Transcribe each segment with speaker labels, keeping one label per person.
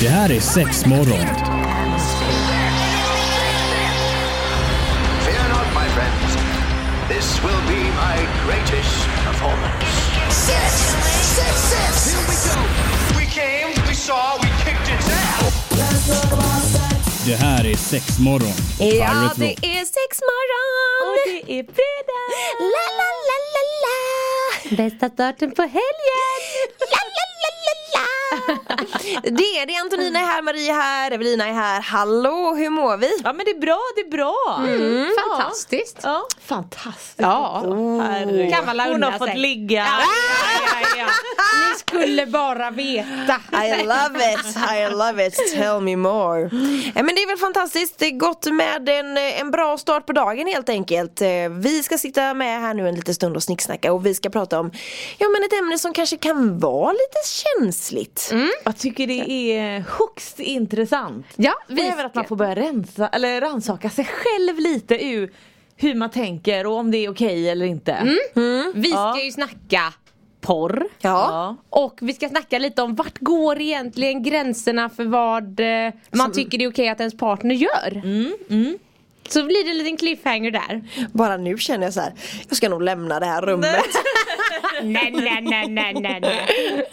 Speaker 1: Det här är sex morgon.
Speaker 2: Fear not, my friends. This will be my greatest performance.
Speaker 3: Six, six, six. Here we go.
Speaker 2: We came, we saw, we kicked its ass.
Speaker 1: Det här är sex morgon.
Speaker 4: Ja,
Speaker 1: Pirate
Speaker 4: det
Speaker 1: Rock.
Speaker 4: är sexmorgon! Och det är fredag! La, la, la, la, la! Bästa starten på helgen! La, la, la, la, la! Det är det, Antonina är här, Maria är här, Evelina är här. Hallå, hur mår vi?
Speaker 5: Ja men det är bra, det är bra.
Speaker 6: Mm, Fantastiskt.
Speaker 5: Ja.
Speaker 6: Fantastiskt. Ja.
Speaker 5: Herregud.
Speaker 6: Kan man la
Speaker 5: Hon
Speaker 6: unna
Speaker 5: har fått
Speaker 6: sig.
Speaker 5: ligga.
Speaker 6: Ni skulle bara veta.
Speaker 4: I love it, I love it, tell me more. Ja, men det är väl fantastiskt, det är gott med en, en bra start på dagen helt enkelt. Eh, Vi ska sitta med här nu en liten stund och snicksnacka och vi ska prata om ja, men ett ämne som kanske kan vara lite känsligt.
Speaker 5: Jag tycker det är högst intressant.
Speaker 6: Ja,
Speaker 5: Vi
Speaker 6: vi
Speaker 5: Även att man får börja rensa, eller rannsaka sig själv lite ur hur man tänker och om det är okej eller inte.
Speaker 6: Vi
Speaker 5: Ja.
Speaker 6: ska ju snacka porr.
Speaker 4: Ja.
Speaker 5: Ja.
Speaker 6: Och vi ska snacka lite om vart går egentligen gränserna för vad eh, man tycker det är okej att ens partner gör.
Speaker 5: Mm,
Speaker 6: Så blir det en liten cliffhanger där.
Speaker 4: Bara nu känner jag så här, jag ska nog lämna det här rummet.
Speaker 6: nej, nej, nej, nej, nej, nej.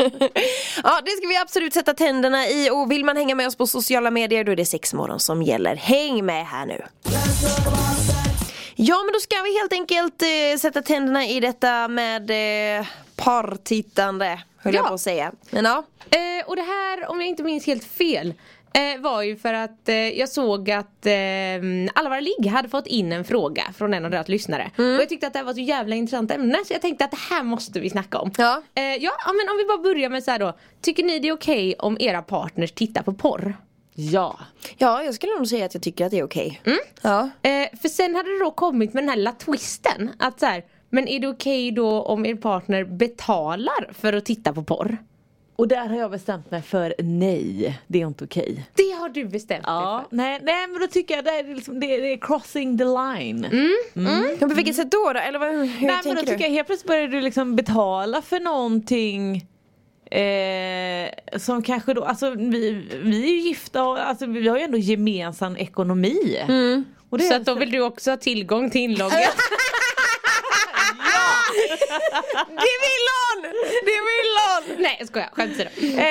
Speaker 4: ja, det ska vi absolut sätta tänderna i och vill man hänga med oss på sociala medier då är det sexmorgon som gäller. Häng med här nu! Ja men då ska vi helt enkelt eh, sätta tänderna i detta med eh, partittande höll jag
Speaker 6: Ja.
Speaker 4: på att säga. Men ja,
Speaker 6: Eh, och det här, om jag inte minns helt fel, eh, var ju för att eh, jag såg att eh, Alvar Ligg hade fått in en fråga från en av deras lyssnare. Och jag tyckte att det här var ett så jävla intressant ämne så jag tänkte att det här måste vi snacka om.
Speaker 4: Ja.
Speaker 6: Eh, ja, ja, men om vi bara börjar med så här då. Tycker ni det är okej om era partners tittar på porr?
Speaker 5: ja.
Speaker 4: ja jag skulle nog säga att jag tycker att det är okej.
Speaker 6: Mm.
Speaker 4: Ja.
Speaker 6: Eh, för sen hade det då kommit med den här lilla twisten att så här, men är det okej då om er partner betalar för att titta på porr?
Speaker 5: Och där har jag bestämt mig för nej, det är inte okej.
Speaker 6: Det har du bestämt dig
Speaker 5: Ja, nej, nej men då tycker jag det är, liksom, det, är, det är crossing the line.
Speaker 4: Mm. Men på vilket sätt då? då? Eller vad, hur
Speaker 5: Nej men då
Speaker 4: tänker du?
Speaker 5: tycker jag helt plötsligt börjar du liksom betala för någonting eh, som kanske då, alltså vi, vi är ju gifta och alltså, vi har ju ändå gemensam ekonomi. Och det
Speaker 6: för. Så
Speaker 5: är
Speaker 6: att då vill du också ha tillgång till inloggen.
Speaker 4: Det vill hon! Det vill hon!
Speaker 6: Nej jag skojar, skämt åsido.
Speaker 5: Eh,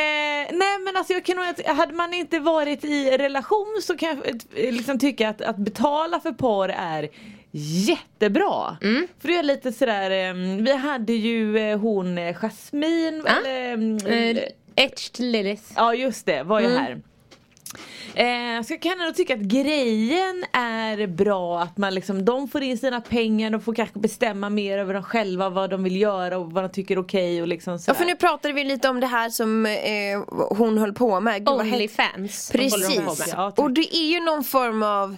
Speaker 5: nej men alltså jag kan nog, att- hade man inte varit i relation så kan jag eh, liksom tycka att, att betala för porr är jättebra.
Speaker 4: Mm.
Speaker 5: För det är lite sådär, eh, vi hade ju eh, hon eh, Jasmine,
Speaker 6: Ah.
Speaker 5: eller, mm,
Speaker 6: Eh, etched lilies.
Speaker 5: Ja just det, var ju
Speaker 4: Mm.
Speaker 5: här. Eh, så jag kan ändå tycka att grejen är bra att man liksom, de får in sina pengar, de får kanske bestämma mer över dem själva, vad de vill göra och vad de tycker är okej och liksom
Speaker 4: Ja
Speaker 5: sådär.
Speaker 4: för nu pratade vi lite om det här som eh, hon höll på med. Gud, vad hett-
Speaker 6: Onlyfans. håller de på
Speaker 4: Precis.
Speaker 6: med.
Speaker 5: Ja, tack.
Speaker 4: och det är ju någon form av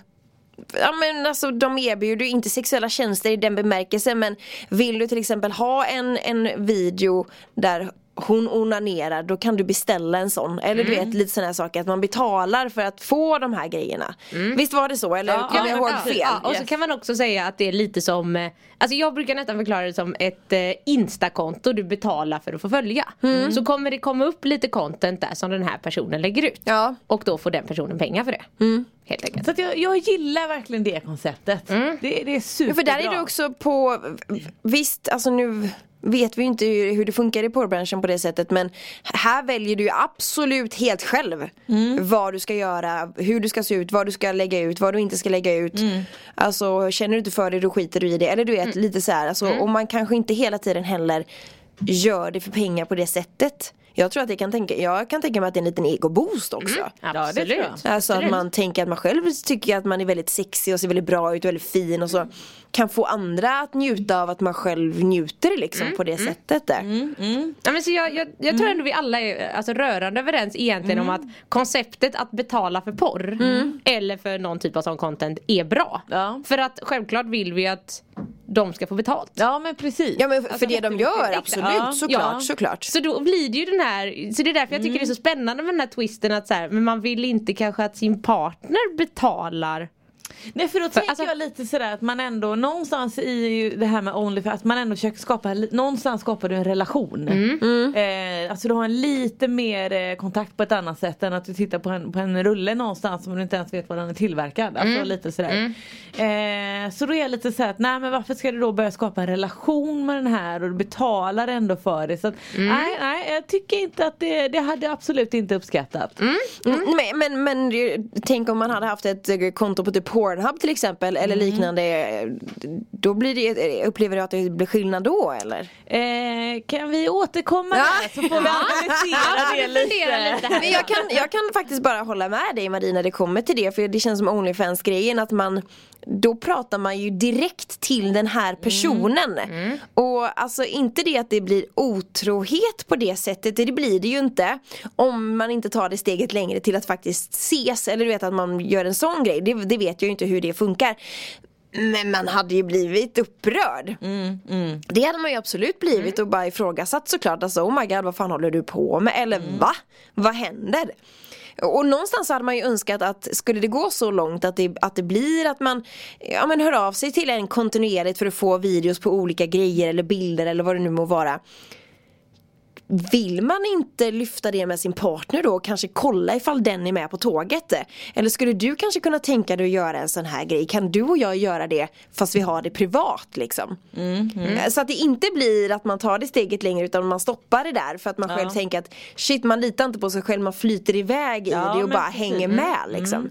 Speaker 4: Ja men alltså de erbjuder ju inte sexuella tjänster i den bemärkelsen men vill du till exempel ha en, en video där hon onanerar då kan du beställa en sån eller
Speaker 6: Mm.
Speaker 4: du vet lite sådana här saker att man betalar för att få de här grejerna Visst var det så eller
Speaker 5: Ja,
Speaker 4: kommer
Speaker 5: ja,
Speaker 4: jag
Speaker 5: men
Speaker 4: ihåg
Speaker 5: precis.
Speaker 4: fel?
Speaker 6: Mm. Ja, och så
Speaker 5: Yes.
Speaker 6: kan man också säga att det är lite som eh, Alltså jag brukar nästan förklara det som ett eh, instakonto du betalar för att få följa Så kommer det komma upp lite content där som den här personen lägger ut
Speaker 4: Ja.
Speaker 6: Och då får den personen pengar för det Helt enkelt
Speaker 5: Så att jag, jag gillar verkligen det konceptet. Det, det är
Speaker 4: Mm. Ja,
Speaker 5: superbra.
Speaker 4: för där är det också på, visst alltså nu vet vi ju inte hur hur det funkar i porrbranschen på det sättet men här väljer du ju absolut helt själv vad du ska göra, hur du ska se ut, vad du ska lägga ut, vad du inte ska lägga ut. Alltså känner du inte för det då skiter du i det. Eller du vet lite så här, alltså, och man kanske inte hela tiden heller gör det för pengar på det sättet. Jag tror att jag kan tänka, jag kan tänka mig att det är en liten egoboost också.
Speaker 5: det
Speaker 6: Absolut
Speaker 5: tror jag.
Speaker 4: Alltså att man tänker att man själv tycker att man är väldigt sexig och ser väldigt bra ut och väldigt fin och så Kan få andra att njuta av att man själv njuter liksom på det sättet där
Speaker 6: ja, men så jag, jag, jag tror ändå vi alla är alltså, rörande överens egentligen om att Konceptet att betala för porr Eller för någon typ av sån content är bra
Speaker 5: Ja.
Speaker 6: För att självklart vill vi att De ska få betalt
Speaker 5: Ja men precis.
Speaker 4: Ja men för det de gör, absolut,
Speaker 5: Ja,
Speaker 4: såklart,
Speaker 6: ja.
Speaker 4: såklart
Speaker 6: Så då blir det ju den här, så det är därför jag tycker det är så spännande med den här twisten att så här, men man vill inte kanske att sin partner betalar
Speaker 5: Nej för då tänker
Speaker 6: alltså-
Speaker 5: jag lite sådär att man ändå någonstans i det här med Onlyfans, att man ändå försöker skapa, li- någonstans skapar du en relation. Eh, alltså du har en lite mer eh, kontakt på ett annat sätt än att du tittar på en, på en rulle någonstans som du inte ens vet var den är tillverkad. Alltså lite sådär. Eh, så då är jag lite såhär att nej men varför ska du då börja skapa en relation med den här och du betalar ändå för det. Så att, nej, nej jag tycker inte att det, det hade jag absolut inte uppskattat.
Speaker 4: Mm. Men, men, men ju, tänk om man hade haft ett eh, konto på typ Pornhub till exempel eller liknande. eh, Då blir det, upplever du att det blir skillnad då eller?
Speaker 5: Eh, kan vi återkomma
Speaker 4: Ja.
Speaker 5: där så får vi analysera det lite.
Speaker 4: Men jag kan, jag kan faktiskt bara hålla med dig Marie när det kommer till det för det känns som Onlyfans grejen att man då pratar man ju direkt till den här personen Och alltså inte det att det blir otrohet på det sättet, det blir det ju inte Om man inte tar det steget längre till att faktiskt ses eller du vet att man gör en sån grej Det, det vet jag ju inte hur det funkar men man hade ju blivit upprörd det hade man ju absolut blivit och bara ifrågasatt såklart. Alltså oh my god vad fan håller du på med? Eller va? Vad händer? Och någonstans hade man ju önskat att skulle det gå så långt att det, att det blir att man ja, men hör av sig till en kontinuerligt för att få videos på olika grejer eller bilder eller vad det nu må vara. Vill man inte lyfta det med sin partner då och kanske kolla ifall den är med på tåget? Eller skulle du kanske kunna tänka dig att göra en sån här grej? Kan du och jag göra det fast vi har det privat liksom? Så att det inte blir att man tar det steget längre utan man stoppar det där för att man själv tänker att shit man litar inte på sig själv man flyter iväg i
Speaker 5: Ja,
Speaker 4: det och
Speaker 5: men
Speaker 4: bara
Speaker 5: precis. Mm.
Speaker 4: hänger med liksom.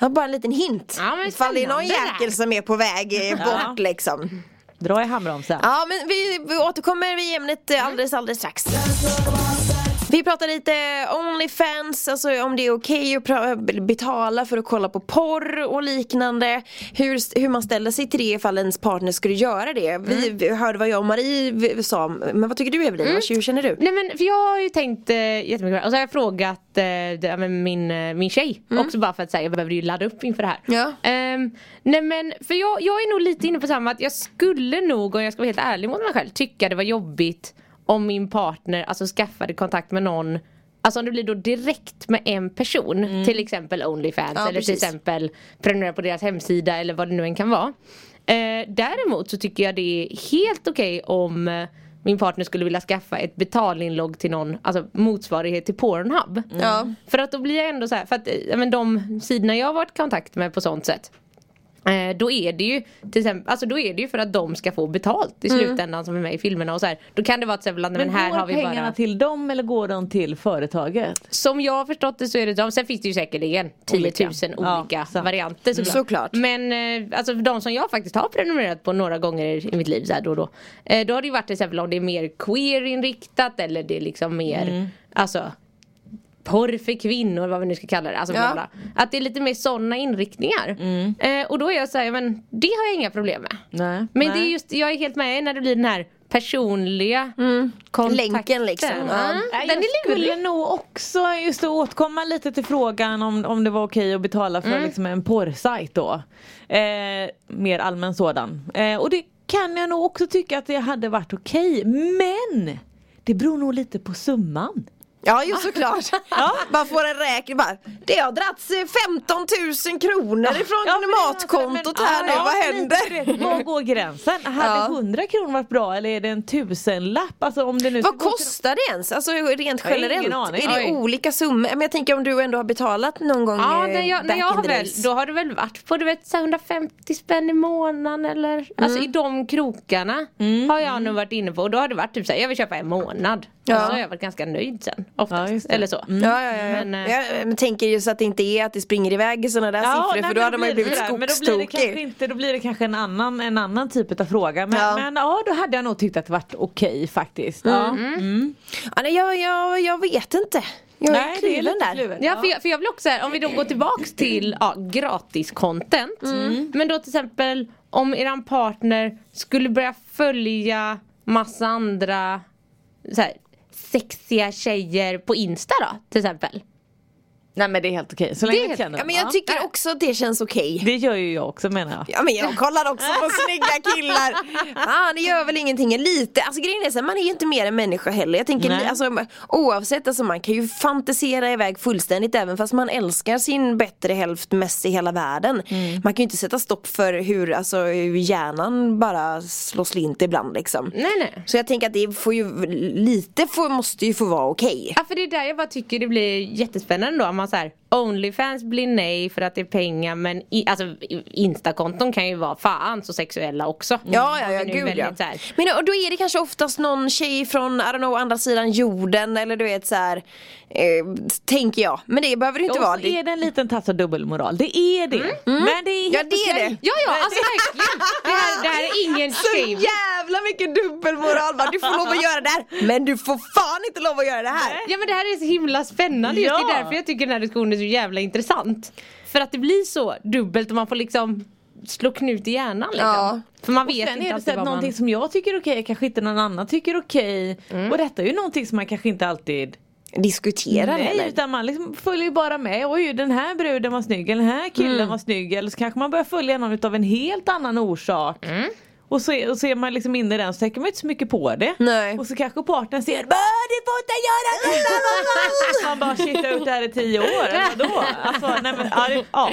Speaker 4: Ja, bara en liten hint.
Speaker 6: Ja, men
Speaker 4: Ifall det är någon
Speaker 6: spännande.
Speaker 4: jäkel som är på väg eh, bort liksom.
Speaker 5: Dra i handbromsen.
Speaker 4: Ja men vi, vi återkommer i ämnet eh, alldeles alldeles strax. Vi pratar lite Onlyfans, alltså om det är okej att pra- betala för att kolla på porr och liknande. Hur, hur man ställer sig till det ifall ens partner skulle göra det. Vi,
Speaker 5: Mm.
Speaker 4: vi hörde vad jag och Marie vi- sa, men vad tycker du Evelina? Hur känner du?
Speaker 6: Nej men för jag har ju tänkt eh, jättemycket och så har jag frågat eh, det, ja, men min, eh, min tjej också bara för att säga jag behöver ju ladda upp inför det här.
Speaker 4: Mm. Ja.
Speaker 6: Ehm, nej men för jag, jag är nog lite inne på samma att jag skulle nog om jag ska vara helt ärlig mot mig själv tycka det var jobbigt om min partner alltså skaffade kontakt med någon Alltså om det blir då direkt med en person
Speaker 4: Mm.
Speaker 6: till exempel Onlyfans
Speaker 4: Ja,
Speaker 6: eller till
Speaker 4: precis.
Speaker 6: exempel exempel prenumerera på deras hemsida eller vad det nu än kan vara. Eh, däremot så tycker jag det är helt okej om eh, min partner skulle vilja skaffa ett betalinlogg till någon, alltså motsvarighet till Pornhub.
Speaker 4: Mm. Ja.
Speaker 6: För att då blir jag ändå så här, för att eh, ja, men de sidorna jag har varit i kontakt med på sånt sätt Eh, då är det ju till exempel, alltså då är det ju för att de ska få betalt
Speaker 4: Mm.
Speaker 6: i slutändan som är med i filmerna och så här. Då kan det vara till exempel att men
Speaker 5: Men,
Speaker 6: här
Speaker 5: går
Speaker 6: har vi
Speaker 5: pengarna
Speaker 6: bara
Speaker 5: till dem eller går de till företaget?
Speaker 6: Som jag har förstått det så är det de, sen finns det ju säkerligen 10 000
Speaker 5: Olika. Ja,
Speaker 6: olika
Speaker 5: så.
Speaker 6: varianter såklart.
Speaker 4: Såklart.
Speaker 6: Men eh, alltså för de som jag faktiskt har prenumererat på några gånger i mitt liv så här då och då. Eh, då har det ju varit till exempel om det är mer queer-inriktat eller det är liksom mer,
Speaker 5: Mm.
Speaker 6: alltså porr för kvinnor vad vi nu ska kalla det. Alltså,
Speaker 4: Ja.
Speaker 6: bla bla. Att det är lite mer sådana inriktningar. Eh, och då är jag såhär, men det har jag inga problem med.
Speaker 5: Mm. Nej,
Speaker 6: Men
Speaker 5: nej. Mm.
Speaker 6: det är just, jag är helt med när det blir den här personliga kontakten.
Speaker 4: Länken liksom, ja.
Speaker 6: Ja.
Speaker 5: Nej,
Speaker 6: Den är
Speaker 5: jag
Speaker 6: lurig.
Speaker 5: skulle nog också just att återkomma lite till frågan om, om det var okej att betala för liksom en porrsajt då. Eh, mer allmän sådan. Eh, och det kan jag nog också tycka att det hade varit okej. Men det beror nog lite på summan.
Speaker 4: Ja ju såklart. Bara får en räkning bara. Det har dragits eh, 15 000 kronor ifrån
Speaker 5: Ja, men det är alltså-
Speaker 4: matkontot
Speaker 5: men-
Speaker 4: här nu,
Speaker 5: ja,
Speaker 4: vad
Speaker 5: men lite
Speaker 4: händer?
Speaker 5: rätt. Var går gränsen? Hade
Speaker 4: Ja.
Speaker 5: 100 kronor varit bra eller är det en tusenlapp? Alltså om det nu
Speaker 4: Vad
Speaker 5: ska gå till-
Speaker 4: kostar det ens? Alltså rent
Speaker 5: Jag har ingen
Speaker 4: generellt?
Speaker 5: aning.
Speaker 4: Är det
Speaker 5: Oj.
Speaker 4: olika summor? Men jag tänker om du ändå har betalat någon gång
Speaker 6: Ja,
Speaker 4: eh,
Speaker 6: när jag, när
Speaker 4: back
Speaker 6: jag
Speaker 4: in
Speaker 6: har
Speaker 4: the
Speaker 6: väl,
Speaker 4: days.
Speaker 6: då har det väl varit på du vet, så här 150 spänn i månaden eller alltså i de krokarna har jag nog varit inne på och då har det varit typ så här, jag vill köpa en månad.
Speaker 4: Ja.
Speaker 6: Och så har jag varit ganska nöjd sen
Speaker 5: Ja,
Speaker 6: oftast,
Speaker 5: just det.
Speaker 6: eller så.
Speaker 4: Ja, Mm. ja, ja.
Speaker 5: Mm,
Speaker 6: Men, eh,
Speaker 4: jag eh, men tänker ju så att det inte är att det springer iväg i sådana där siffror
Speaker 5: nej,
Speaker 4: för
Speaker 5: men
Speaker 4: då hade man ju
Speaker 5: blir
Speaker 4: blivit
Speaker 5: det där. Men då blir det kanske
Speaker 4: skogstokig.
Speaker 5: inte, då blir det kanske en annan, en annan typ av fråga. Men
Speaker 4: Ja. Mm.
Speaker 5: ja. men ja, då hade jag nog tyckt att det varit okej faktiskt. Ja.
Speaker 4: Ja, nej, jag, jag, jag vet inte. Jag
Speaker 5: Nej,
Speaker 4: är
Speaker 5: det är
Speaker 4: kluven
Speaker 5: lite
Speaker 4: där.
Speaker 5: kluvet.
Speaker 6: Ja, för jag, för jag vill också så här, om vi då går tillbaks till ja, gratis content. Men då till exempel om eran partner skulle börja följa massa andra så här, sexiga tjejer på Insta då till exempel.
Speaker 5: Nej men det är helt okej, så länge
Speaker 6: är
Speaker 5: jag
Speaker 6: helt-
Speaker 5: känner
Speaker 4: Ja, men jag tycker också att det känns okej.
Speaker 5: Det gör ju jag också menar jag.
Speaker 4: Ja men jag kollar också på snygga killar. Ah, det gör väl ingenting, lite, alltså grejen är så här, man är ju inte mer än människa heller. Jag tänker
Speaker 5: Nej.
Speaker 4: alltså, oavsett, alltså, man kan ju fantisera iväg fullständigt även fast man älskar sin bättre hälft mest i hela världen. Man kan ju inte sätta stopp för hur, alltså, hur hjärnan bara slår slint ibland liksom.
Speaker 6: Nej nej.
Speaker 4: Så jag tänker att det får ju, lite får, måste ju få vara okej.
Speaker 6: Ja för det är där jag bara tycker det blir jättespännande då. Om man såhär Onlyfans blir nej för att det är pengar men i, alltså i- instakonton kan ju vara fan så sexuella också.
Speaker 5: Mm,
Speaker 4: Ja, ja, ja,
Speaker 6: Men det är
Speaker 4: gud ja.
Speaker 6: väldigt så här-
Speaker 4: Men och då är det kanske oftast någon tjej från, I don't know, andra sidan jorden eller du vet så här, eh, tänker jag. Men det behöver det
Speaker 5: Och
Speaker 4: inte vara.
Speaker 5: så är det en liten tass av dubbelmoral, det är det. Men det är
Speaker 4: Ja
Speaker 5: helt
Speaker 4: det är
Speaker 5: okej.
Speaker 4: det.
Speaker 6: Ja ja alltså verkligen. Det här, det här är ingen shame.
Speaker 4: jävla mycket dubbelmoral bara, du får lov att göra det här men du får fan inte lov att göra det här.
Speaker 6: Ja men det här är så himla spännande just. Det
Speaker 5: Ja.
Speaker 6: är därför jag tycker den här diskussionen är så jävla intressant. För att det blir så dubbelt och man får liksom slå knut i hjärnan liksom.
Speaker 4: Ja.
Speaker 6: För man
Speaker 5: Och
Speaker 6: vet
Speaker 5: sen
Speaker 6: inte
Speaker 5: är det så
Speaker 6: alltid
Speaker 5: att
Speaker 6: vad
Speaker 5: någonting
Speaker 6: man...
Speaker 5: som jag tycker är okej kanske inte någon annan tycker är okej.
Speaker 6: Mm.
Speaker 5: Och detta är ju någonting som man kanske inte alltid
Speaker 4: Diskutera
Speaker 5: Nej,
Speaker 4: eller?
Speaker 5: utan man liksom följer ju bara med. Oj, den här bruden var snygg, eller den här killen
Speaker 6: Mm.
Speaker 5: var snygg. Eller så kanske man börjar följa någon utav en helt annan orsak.
Speaker 6: Mm.
Speaker 5: Och, så, är- och så är man liksom inne i den, så tänker man inte så mycket på det.
Speaker 4: Nej.
Speaker 5: Och så kanske partnern ser "Bä, du får inte göra detta! man bara shit, jag har gjort det här i tio år, eller vadå? Alltså, nej men, ja, det, ja.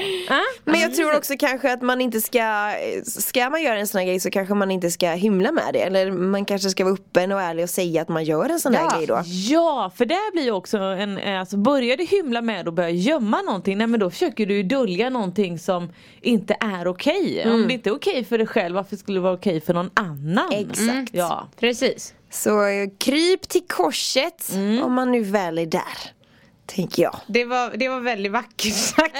Speaker 4: Men jag tror också kanske att man inte ska, ska man göra en sån här grej så kanske man inte ska hymla med det. Eller man kanske ska vara öppen och ärlig och säga att man gör en sån här grej då.
Speaker 5: Ja, för det blir ju också en, eh, alltså börjar du hymla med och börjar gömma någonting, nej men då försöker du ju dölja någonting som inte är okej. Om det inte är okej för dig själv, varför skulle det vara okej för någon annan?
Speaker 4: Exakt.
Speaker 5: Ja.
Speaker 6: Precis.
Speaker 4: Så eh, kryp till korset
Speaker 6: Mm.
Speaker 4: om man nu väl är där. Tänker jag.
Speaker 6: Det var, det var väldigt vackert sagt.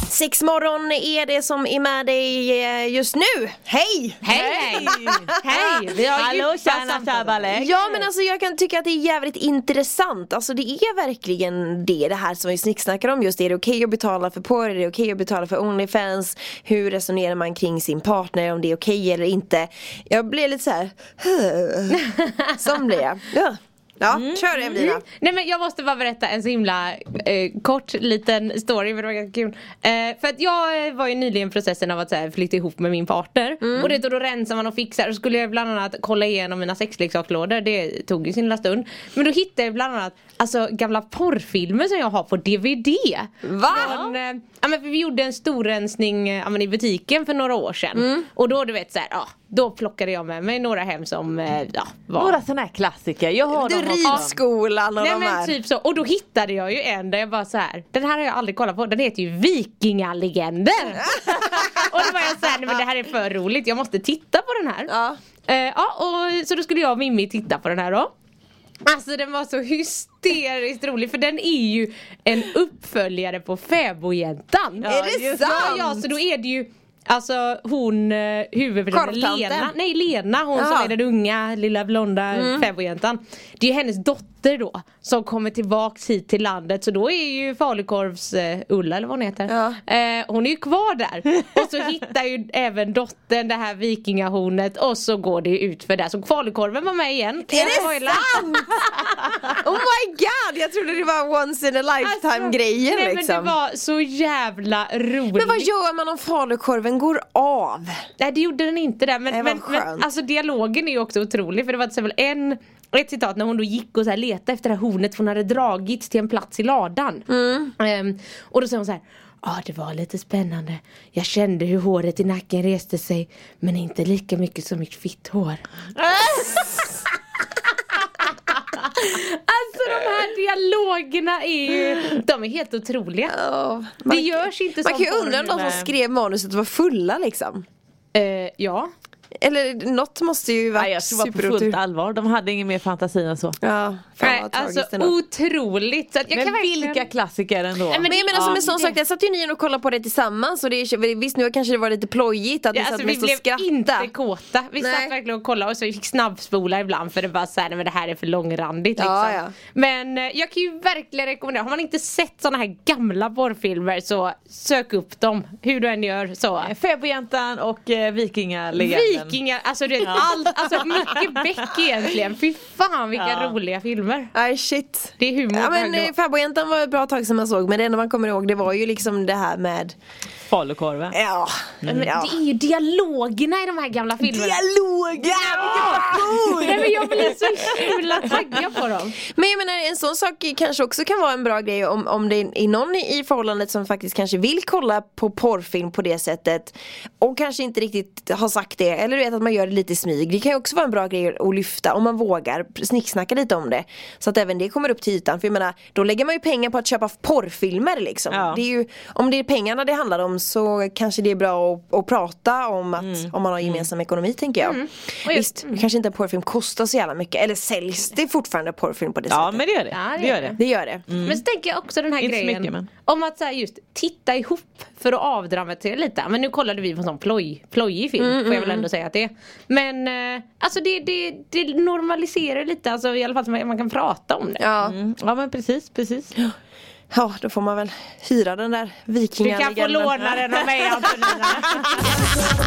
Speaker 4: Sex morgon är det som är med dig eh, just nu. Hej! Ah,
Speaker 6: Hej hej! Hej! Vi har
Speaker 5: Hallå
Speaker 6: djupa
Speaker 5: tjena
Speaker 6: samtal.
Speaker 5: Shabalek!
Speaker 4: Ja men alltså jag kan tycka att det är jävligt intressant. Alltså det är verkligen det, det här som vi snicksnackar om just. Är det okej att betala för porr? Är det okej att betala för Onlyfans? Hur resonerar man kring sin partner? Om det är okej eller inte? Jag blir lite så här. Som blir jag. Ja, ja kör Evelina.
Speaker 6: Mm. Nej men jag måste bara berätta en så himla eh, kort liten story för det var ganska kul. Eh, för att jag eh, var ju nyligen i processen av att så här, flytta ihop med min partner.
Speaker 4: Mm.
Speaker 6: Och det, då, då rensar man och fixar och skulle jag bland annat kolla igenom mina sexleksakslådor. Det tog ju sin lilla stund. Men då hittade jag bland annat alltså, gamla porrfilmer som jag har på DVD.
Speaker 4: Va?
Speaker 6: Från, eh, ja, men för vi gjorde en storrensning eh, ja, men i butiken för några år sedan.
Speaker 4: Mm.
Speaker 6: Och då du vet så här, ja, då plockade jag med mig några hem som eh, ja, var
Speaker 5: Några sådana här klassiker, jag har
Speaker 4: Du
Speaker 5: dem också.
Speaker 4: ridskolan och
Speaker 6: Nej
Speaker 4: de här.
Speaker 6: men typ så, och då hittade jag ju en där jag bara så här. Den här har jag aldrig kollat på, den heter ju Vikingalegender Och då var jag så här, nej men det här är för roligt, jag måste titta på den här
Speaker 4: Ja.
Speaker 6: Eh, ja och, så då skulle jag och Mimmi titta på den här då Alltså den var så hysteriskt rolig för den är ju en uppföljare på Fäbodjäntan
Speaker 4: Är det
Speaker 6: just-
Speaker 4: sant?
Speaker 6: Ja, ja så då är det ju Alltså hon eh, huvudpersonen
Speaker 4: Korvtanten.
Speaker 6: Lena, nej Lena hon
Speaker 4: Ja.
Speaker 6: som är den unga lilla blonda
Speaker 4: Mm.
Speaker 6: fäbodjäntan. Det är ju hennes dotter då som kommer tillbaks hit till landet så då är ju falukorvs eh, Ulla eller vad hon heter.
Speaker 4: Ja.
Speaker 6: Eh, hon är ju kvar där och så hittar ju även dottern det här vikingahornet och så går det ut för där så falukorven var med igen.
Speaker 4: Är det sant? Oh my god, jag trodde det var once in a lifetime grejen
Speaker 6: Alltså, nej,
Speaker 4: liksom.
Speaker 6: men det var så jävla roligt.
Speaker 4: Men vad gör man om falukorven går av?
Speaker 6: Nej det gjorde den inte där men,
Speaker 4: Nej, vad
Speaker 6: men, men
Speaker 4: skönt.
Speaker 6: alltså dialogen är ju också otrolig för det var till exempel en ett citat när hon då gick och så här letade efter det här hornet för hon hade dragits till en plats i ladan.
Speaker 4: Mm.
Speaker 6: Ehm, och då säger hon så här Ja det var lite spännande. Jag kände hur håret i nacken reste sig men inte lika mycket som mitt fitthår. alltså de här dialogerna är ju, de är helt otroliga.
Speaker 4: Oh,
Speaker 6: Det görs inte
Speaker 4: Man
Speaker 6: som
Speaker 4: kan ju undra om de
Speaker 6: porr.
Speaker 4: som skrev manuset var fulla liksom.
Speaker 6: Eh, ja.
Speaker 4: Eller något måste ju
Speaker 5: Nej,
Speaker 4: vara
Speaker 5: jag tror det var på fullt
Speaker 4: superotur.
Speaker 5: allvar, de hade ingen mer fantasi än så.
Speaker 4: Ja, fan
Speaker 6: Nej,
Speaker 4: vad
Speaker 6: alltså
Speaker 4: tragiskt ändå.
Speaker 6: otroligt. Så att jag
Speaker 5: Men
Speaker 6: kan verkligen...
Speaker 5: vilka klassiker ändå.
Speaker 6: Nej, men
Speaker 4: Men jag menar som en sån sak, där satt ju ni och kollade på det tillsammans och det är, visst nu kanske det var lite plojigt att ni
Speaker 6: Ja, alltså,
Speaker 4: satt
Speaker 6: vi
Speaker 4: mest och
Speaker 6: blev
Speaker 4: skrattade.
Speaker 6: inte kåta. Vi
Speaker 4: Nej.
Speaker 6: satt verkligen och kollade och så vi fick snabbspola ibland för det var såhär, nej men det här är för långrandigt liksom.
Speaker 4: Ja, ja.
Speaker 6: Men eh, jag kan ju verkligen rekommendera, har man inte sett såna här gamla porrfilmer så sök upp dem. Hur du än gör så.
Speaker 5: Fäbodjäntan och eh, vikingalegenden.
Speaker 6: Vikingar, alltså du vet allt, alltså mycket Beck egentligen. Fy fan vilka
Speaker 5: Ja.
Speaker 6: roliga filmer.
Speaker 4: Nej shit.
Speaker 6: Det är humor
Speaker 4: Ja
Speaker 6: på hög
Speaker 4: men
Speaker 6: nivå.
Speaker 4: eh, Fäbodjäntan var ett bra tag som man såg men det enda man kommer ihåg det var ju liksom det här med
Speaker 5: Falukorven.
Speaker 4: Ja,
Speaker 6: Mm. Men
Speaker 4: ja.
Speaker 6: det är ju dialogerna i de här gamla filmerna.
Speaker 4: dialogen!
Speaker 6: Nej men jag blir så himla taggad på dem.
Speaker 4: Men jag menar en sån sak kanske också kan vara en bra grej om, om det är någon i i förhållandet som faktiskt kanske vill kolla på porrfilm på det sättet Och kanske inte riktigt har sagt det eller du vet att man gör det lite i smyg Det kan ju också vara en bra grej att lyfta om man vågar snicksnacka lite om det Så att även det kommer upp till ytan för jag menar då lägger man ju pengar på att köpa porrfilmer liksom
Speaker 5: Ja.
Speaker 4: det är ju, Om det är pengarna det handlar om så kanske det är bra att, att prata om att om man har gemensam ekonomi tänker jag
Speaker 6: Mm. Och just-
Speaker 4: Visst, Mm. kanske inte en porrfilm kostar så jävla mycket eller säljs det fortfarande porrfilm på det
Speaker 5: Ja
Speaker 4: sättet?
Speaker 5: men det gör det.
Speaker 6: Ja, det
Speaker 5: det,
Speaker 6: gör
Speaker 5: gör det.
Speaker 4: Det gör det.
Speaker 6: Men Mm. så tänker jag också den här
Speaker 5: Mm. Inte så
Speaker 6: grejen
Speaker 5: mycket, men.
Speaker 6: om att så här, just titta ihop för att avdramatisera lite. Men nu kollade vi på en sån ploj, plojig film
Speaker 5: Mm,
Speaker 6: får jag väl ändå säga att det är. Men eh, alltså det, det, det normaliserar lite, alltså, i alla fall så man, man kan prata om det.
Speaker 4: Ja.
Speaker 5: Mm. Ja men precis, precis.
Speaker 4: ja, då får man väl hyra den där
Speaker 6: Du kan få
Speaker 4: vikingaligan.
Speaker 6: låna den av mig Antonina.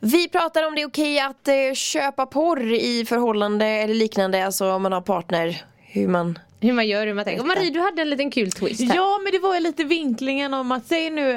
Speaker 4: Vi pratar om det är okej att eh, köpa porr i förhållande eller liknande, alltså om man har partner. Hur man...
Speaker 6: hur man gör, hur man tänker. Och Marie du hade en liten kul twist här.
Speaker 5: Ja men det var ju lite vinklingen om att säg nu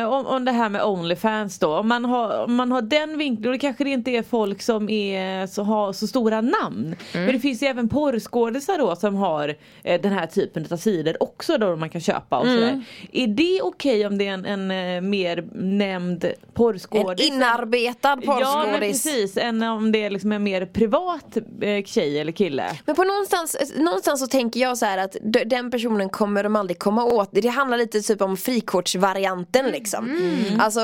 Speaker 5: eh, om, om det här med Onlyfans då. Om man har, om man har den vinklingen, och det kanske det inte är folk som är, så har så stora namn.
Speaker 6: Mm.
Speaker 5: Men det finns ju även porrskådisar då som har eh, den här typen av sidor också då man kan köpa och
Speaker 6: Mm.
Speaker 5: sådär. Är det okej om det är en, en eh, mer nämnd
Speaker 4: En
Speaker 5: porrskådis?
Speaker 4: inarbetad
Speaker 5: Ja men
Speaker 4: porrskådis.
Speaker 5: precis, än om det är liksom en mer privat eh, tjej eller kille.
Speaker 4: Men på någonstans, någonstans så tänker jag så här att d- den personen kommer de aldrig komma åt. Det handlar lite typ om frikortsvarianten liksom. Alltså,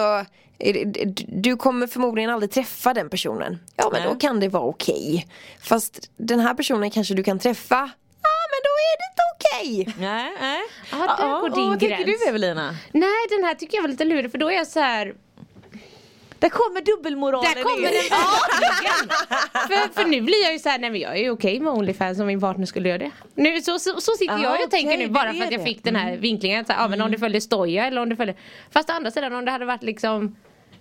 Speaker 4: eh, d- du kommer förmodligen aldrig träffa den personen. Ja men då kan det vara okej. Fast den här personen kanske du kan träffa. Ja men då är det inte okej.
Speaker 5: Nej, nej.
Speaker 6: Ja, där går din
Speaker 5: och vad tänker
Speaker 6: gräns.
Speaker 5: du Evelina?
Speaker 6: Nej den här tycker jag var lite lurig för då är jag så här.
Speaker 5: Där kommer dubbelmoralen
Speaker 6: Där kommer
Speaker 5: in.
Speaker 6: den verkligen! för, för nu blir jag ju såhär, nej men jag är ju okej med Onlyfans om min partner skulle göra det. Nu, så, så, så sitter
Speaker 5: Ah,
Speaker 6: jag och
Speaker 5: okej,
Speaker 6: tänker nu
Speaker 5: det
Speaker 6: bara för
Speaker 5: är
Speaker 6: att jag
Speaker 5: det.
Speaker 6: fick den
Speaker 4: Mm.
Speaker 6: här vinklingen, såhär, ah, men om det följer Stoja eller om det följer... Fast å andra sidan om det hade varit liksom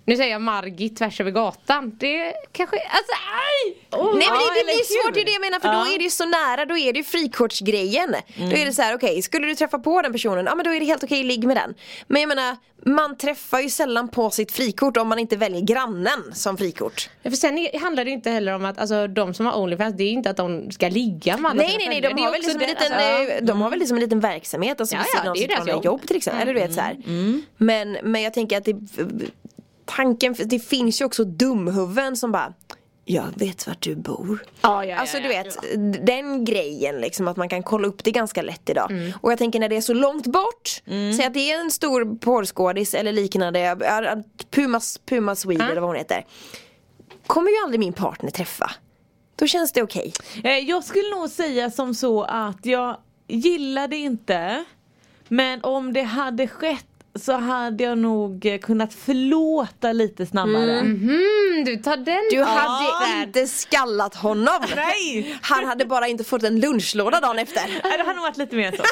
Speaker 6: nu säger jag Margit tvärs över gatan. Det kanske, alltså aj! Oh,
Speaker 4: Nej men
Speaker 5: Ja,
Speaker 4: det, det
Speaker 5: eller
Speaker 4: blir svårt, det är
Speaker 5: hur?
Speaker 4: det jag menar för
Speaker 5: Ja.
Speaker 4: då är det ju så nära, då är det ju frikortsgrejen Då
Speaker 6: Mm.
Speaker 4: är det så här: okej, skulle du träffa på den personen, ja men då är det helt okej, ligg med den Men jag menar, man träffar ju sällan på sitt frikort om man inte väljer grannen som frikort
Speaker 6: För sen är- handlar det ju inte heller om att alltså, de som har Onlyfans det är ju inte att de ska ligga med alla
Speaker 4: Nej
Speaker 6: sina
Speaker 4: nej nej,
Speaker 6: följare.
Speaker 4: de
Speaker 6: Det är
Speaker 4: har, väl
Speaker 6: också
Speaker 4: liksom en
Speaker 6: det-
Speaker 4: liten,
Speaker 6: alltså, ja.
Speaker 4: eh, de har väl liksom en liten verksamhet alltså,
Speaker 6: Ja,
Speaker 4: vid
Speaker 6: ja,
Speaker 4: sidan av
Speaker 6: det Mm. är
Speaker 4: sitt
Speaker 6: ju deras
Speaker 4: vanliga jobb.
Speaker 6: jobb.
Speaker 4: till exempel, eller du vet så här. Men, men jag tänker att det, tanken, det finns ju också dumhuvuden som bara jag vet vart du bor.
Speaker 6: Ja, ja, ja,
Speaker 4: Alltså du
Speaker 6: ja.
Speaker 4: vet, d- den grejen liksom att man kan kolla upp det ganska lätt idag.
Speaker 6: Mm.
Speaker 4: Och jag tänker när det är så långt bort, säg att det är en stor porrskådis eller liknande, ja, ja, Pumas, Puma Swede eller vad hon heter. Kommer ju aldrig min partner träffa. Då känns det okej.
Speaker 5: Eh, Jag skulle nog säga som så att jag gillade inte Men om det hade skett så hade jag nog eh, kunnat förlåta lite snabbare.
Speaker 6: Mm, du tar den
Speaker 4: Du
Speaker 6: Ja.
Speaker 4: hade
Speaker 6: Där.
Speaker 4: inte skallat honom.
Speaker 5: Nej!
Speaker 4: Han hade bara inte fått en lunchlåda dagen efter.
Speaker 5: Nej, Det hade nog varit lite mer så.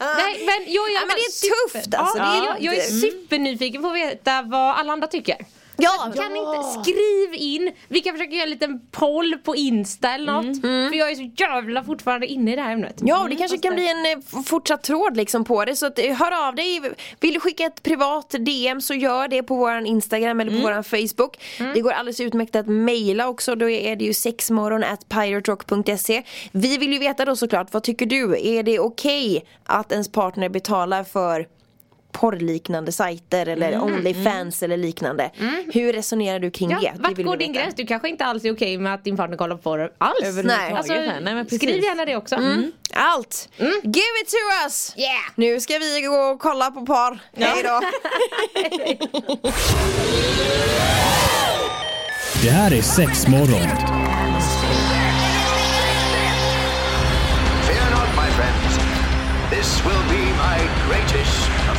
Speaker 6: Nej men jag, jag,
Speaker 4: Ja, men det är tufft alltså.
Speaker 6: Ja,
Speaker 4: det är, Mm.
Speaker 6: jag, jag är supernyfiken på att veta vad alla andra tycker.
Speaker 4: ja.
Speaker 6: Kan ni inte, skriv in, vi kan försöka göra en liten poll på Insta eller något. För jag är så jävla fortfarande inne i det här ämnet.
Speaker 4: Mm.
Speaker 6: Mm.
Speaker 4: Ja, och det kanske kan bli en eh, f- fortsatt tråd liksom på det. Så att, eh, hör av dig. Vill du skicka ett privat DM så gör det på vår Instagram
Speaker 6: Mm.
Speaker 4: eller på vår Facebook. Det går alldeles utmärkt att mejla också. Då är det ju sexmorgon at piraterock.se. Vi vill ju veta då såklart, vad tycker du? Är det okej att ens partner betalar för porrliknande sajter eller Onlyfans eller liknande. Hur resonerar du kring det?
Speaker 6: Mm, Ja,
Speaker 4: Det
Speaker 6: vart
Speaker 4: vill vi
Speaker 6: går din
Speaker 4: veta.
Speaker 6: gräns? Du kanske inte alls är okej med att din partner kollar på det alls.
Speaker 4: Nej. Mm.
Speaker 6: Alltså,
Speaker 5: Nej, men precis.
Speaker 6: skriv gärna det också. Mm.
Speaker 4: Allt! Give it to us!
Speaker 6: Yeah.
Speaker 4: Nu ska vi gå och kolla på par. Hej då!
Speaker 1: Det här är sex morgon.
Speaker 2: Fear not, my friends. This will be my greatest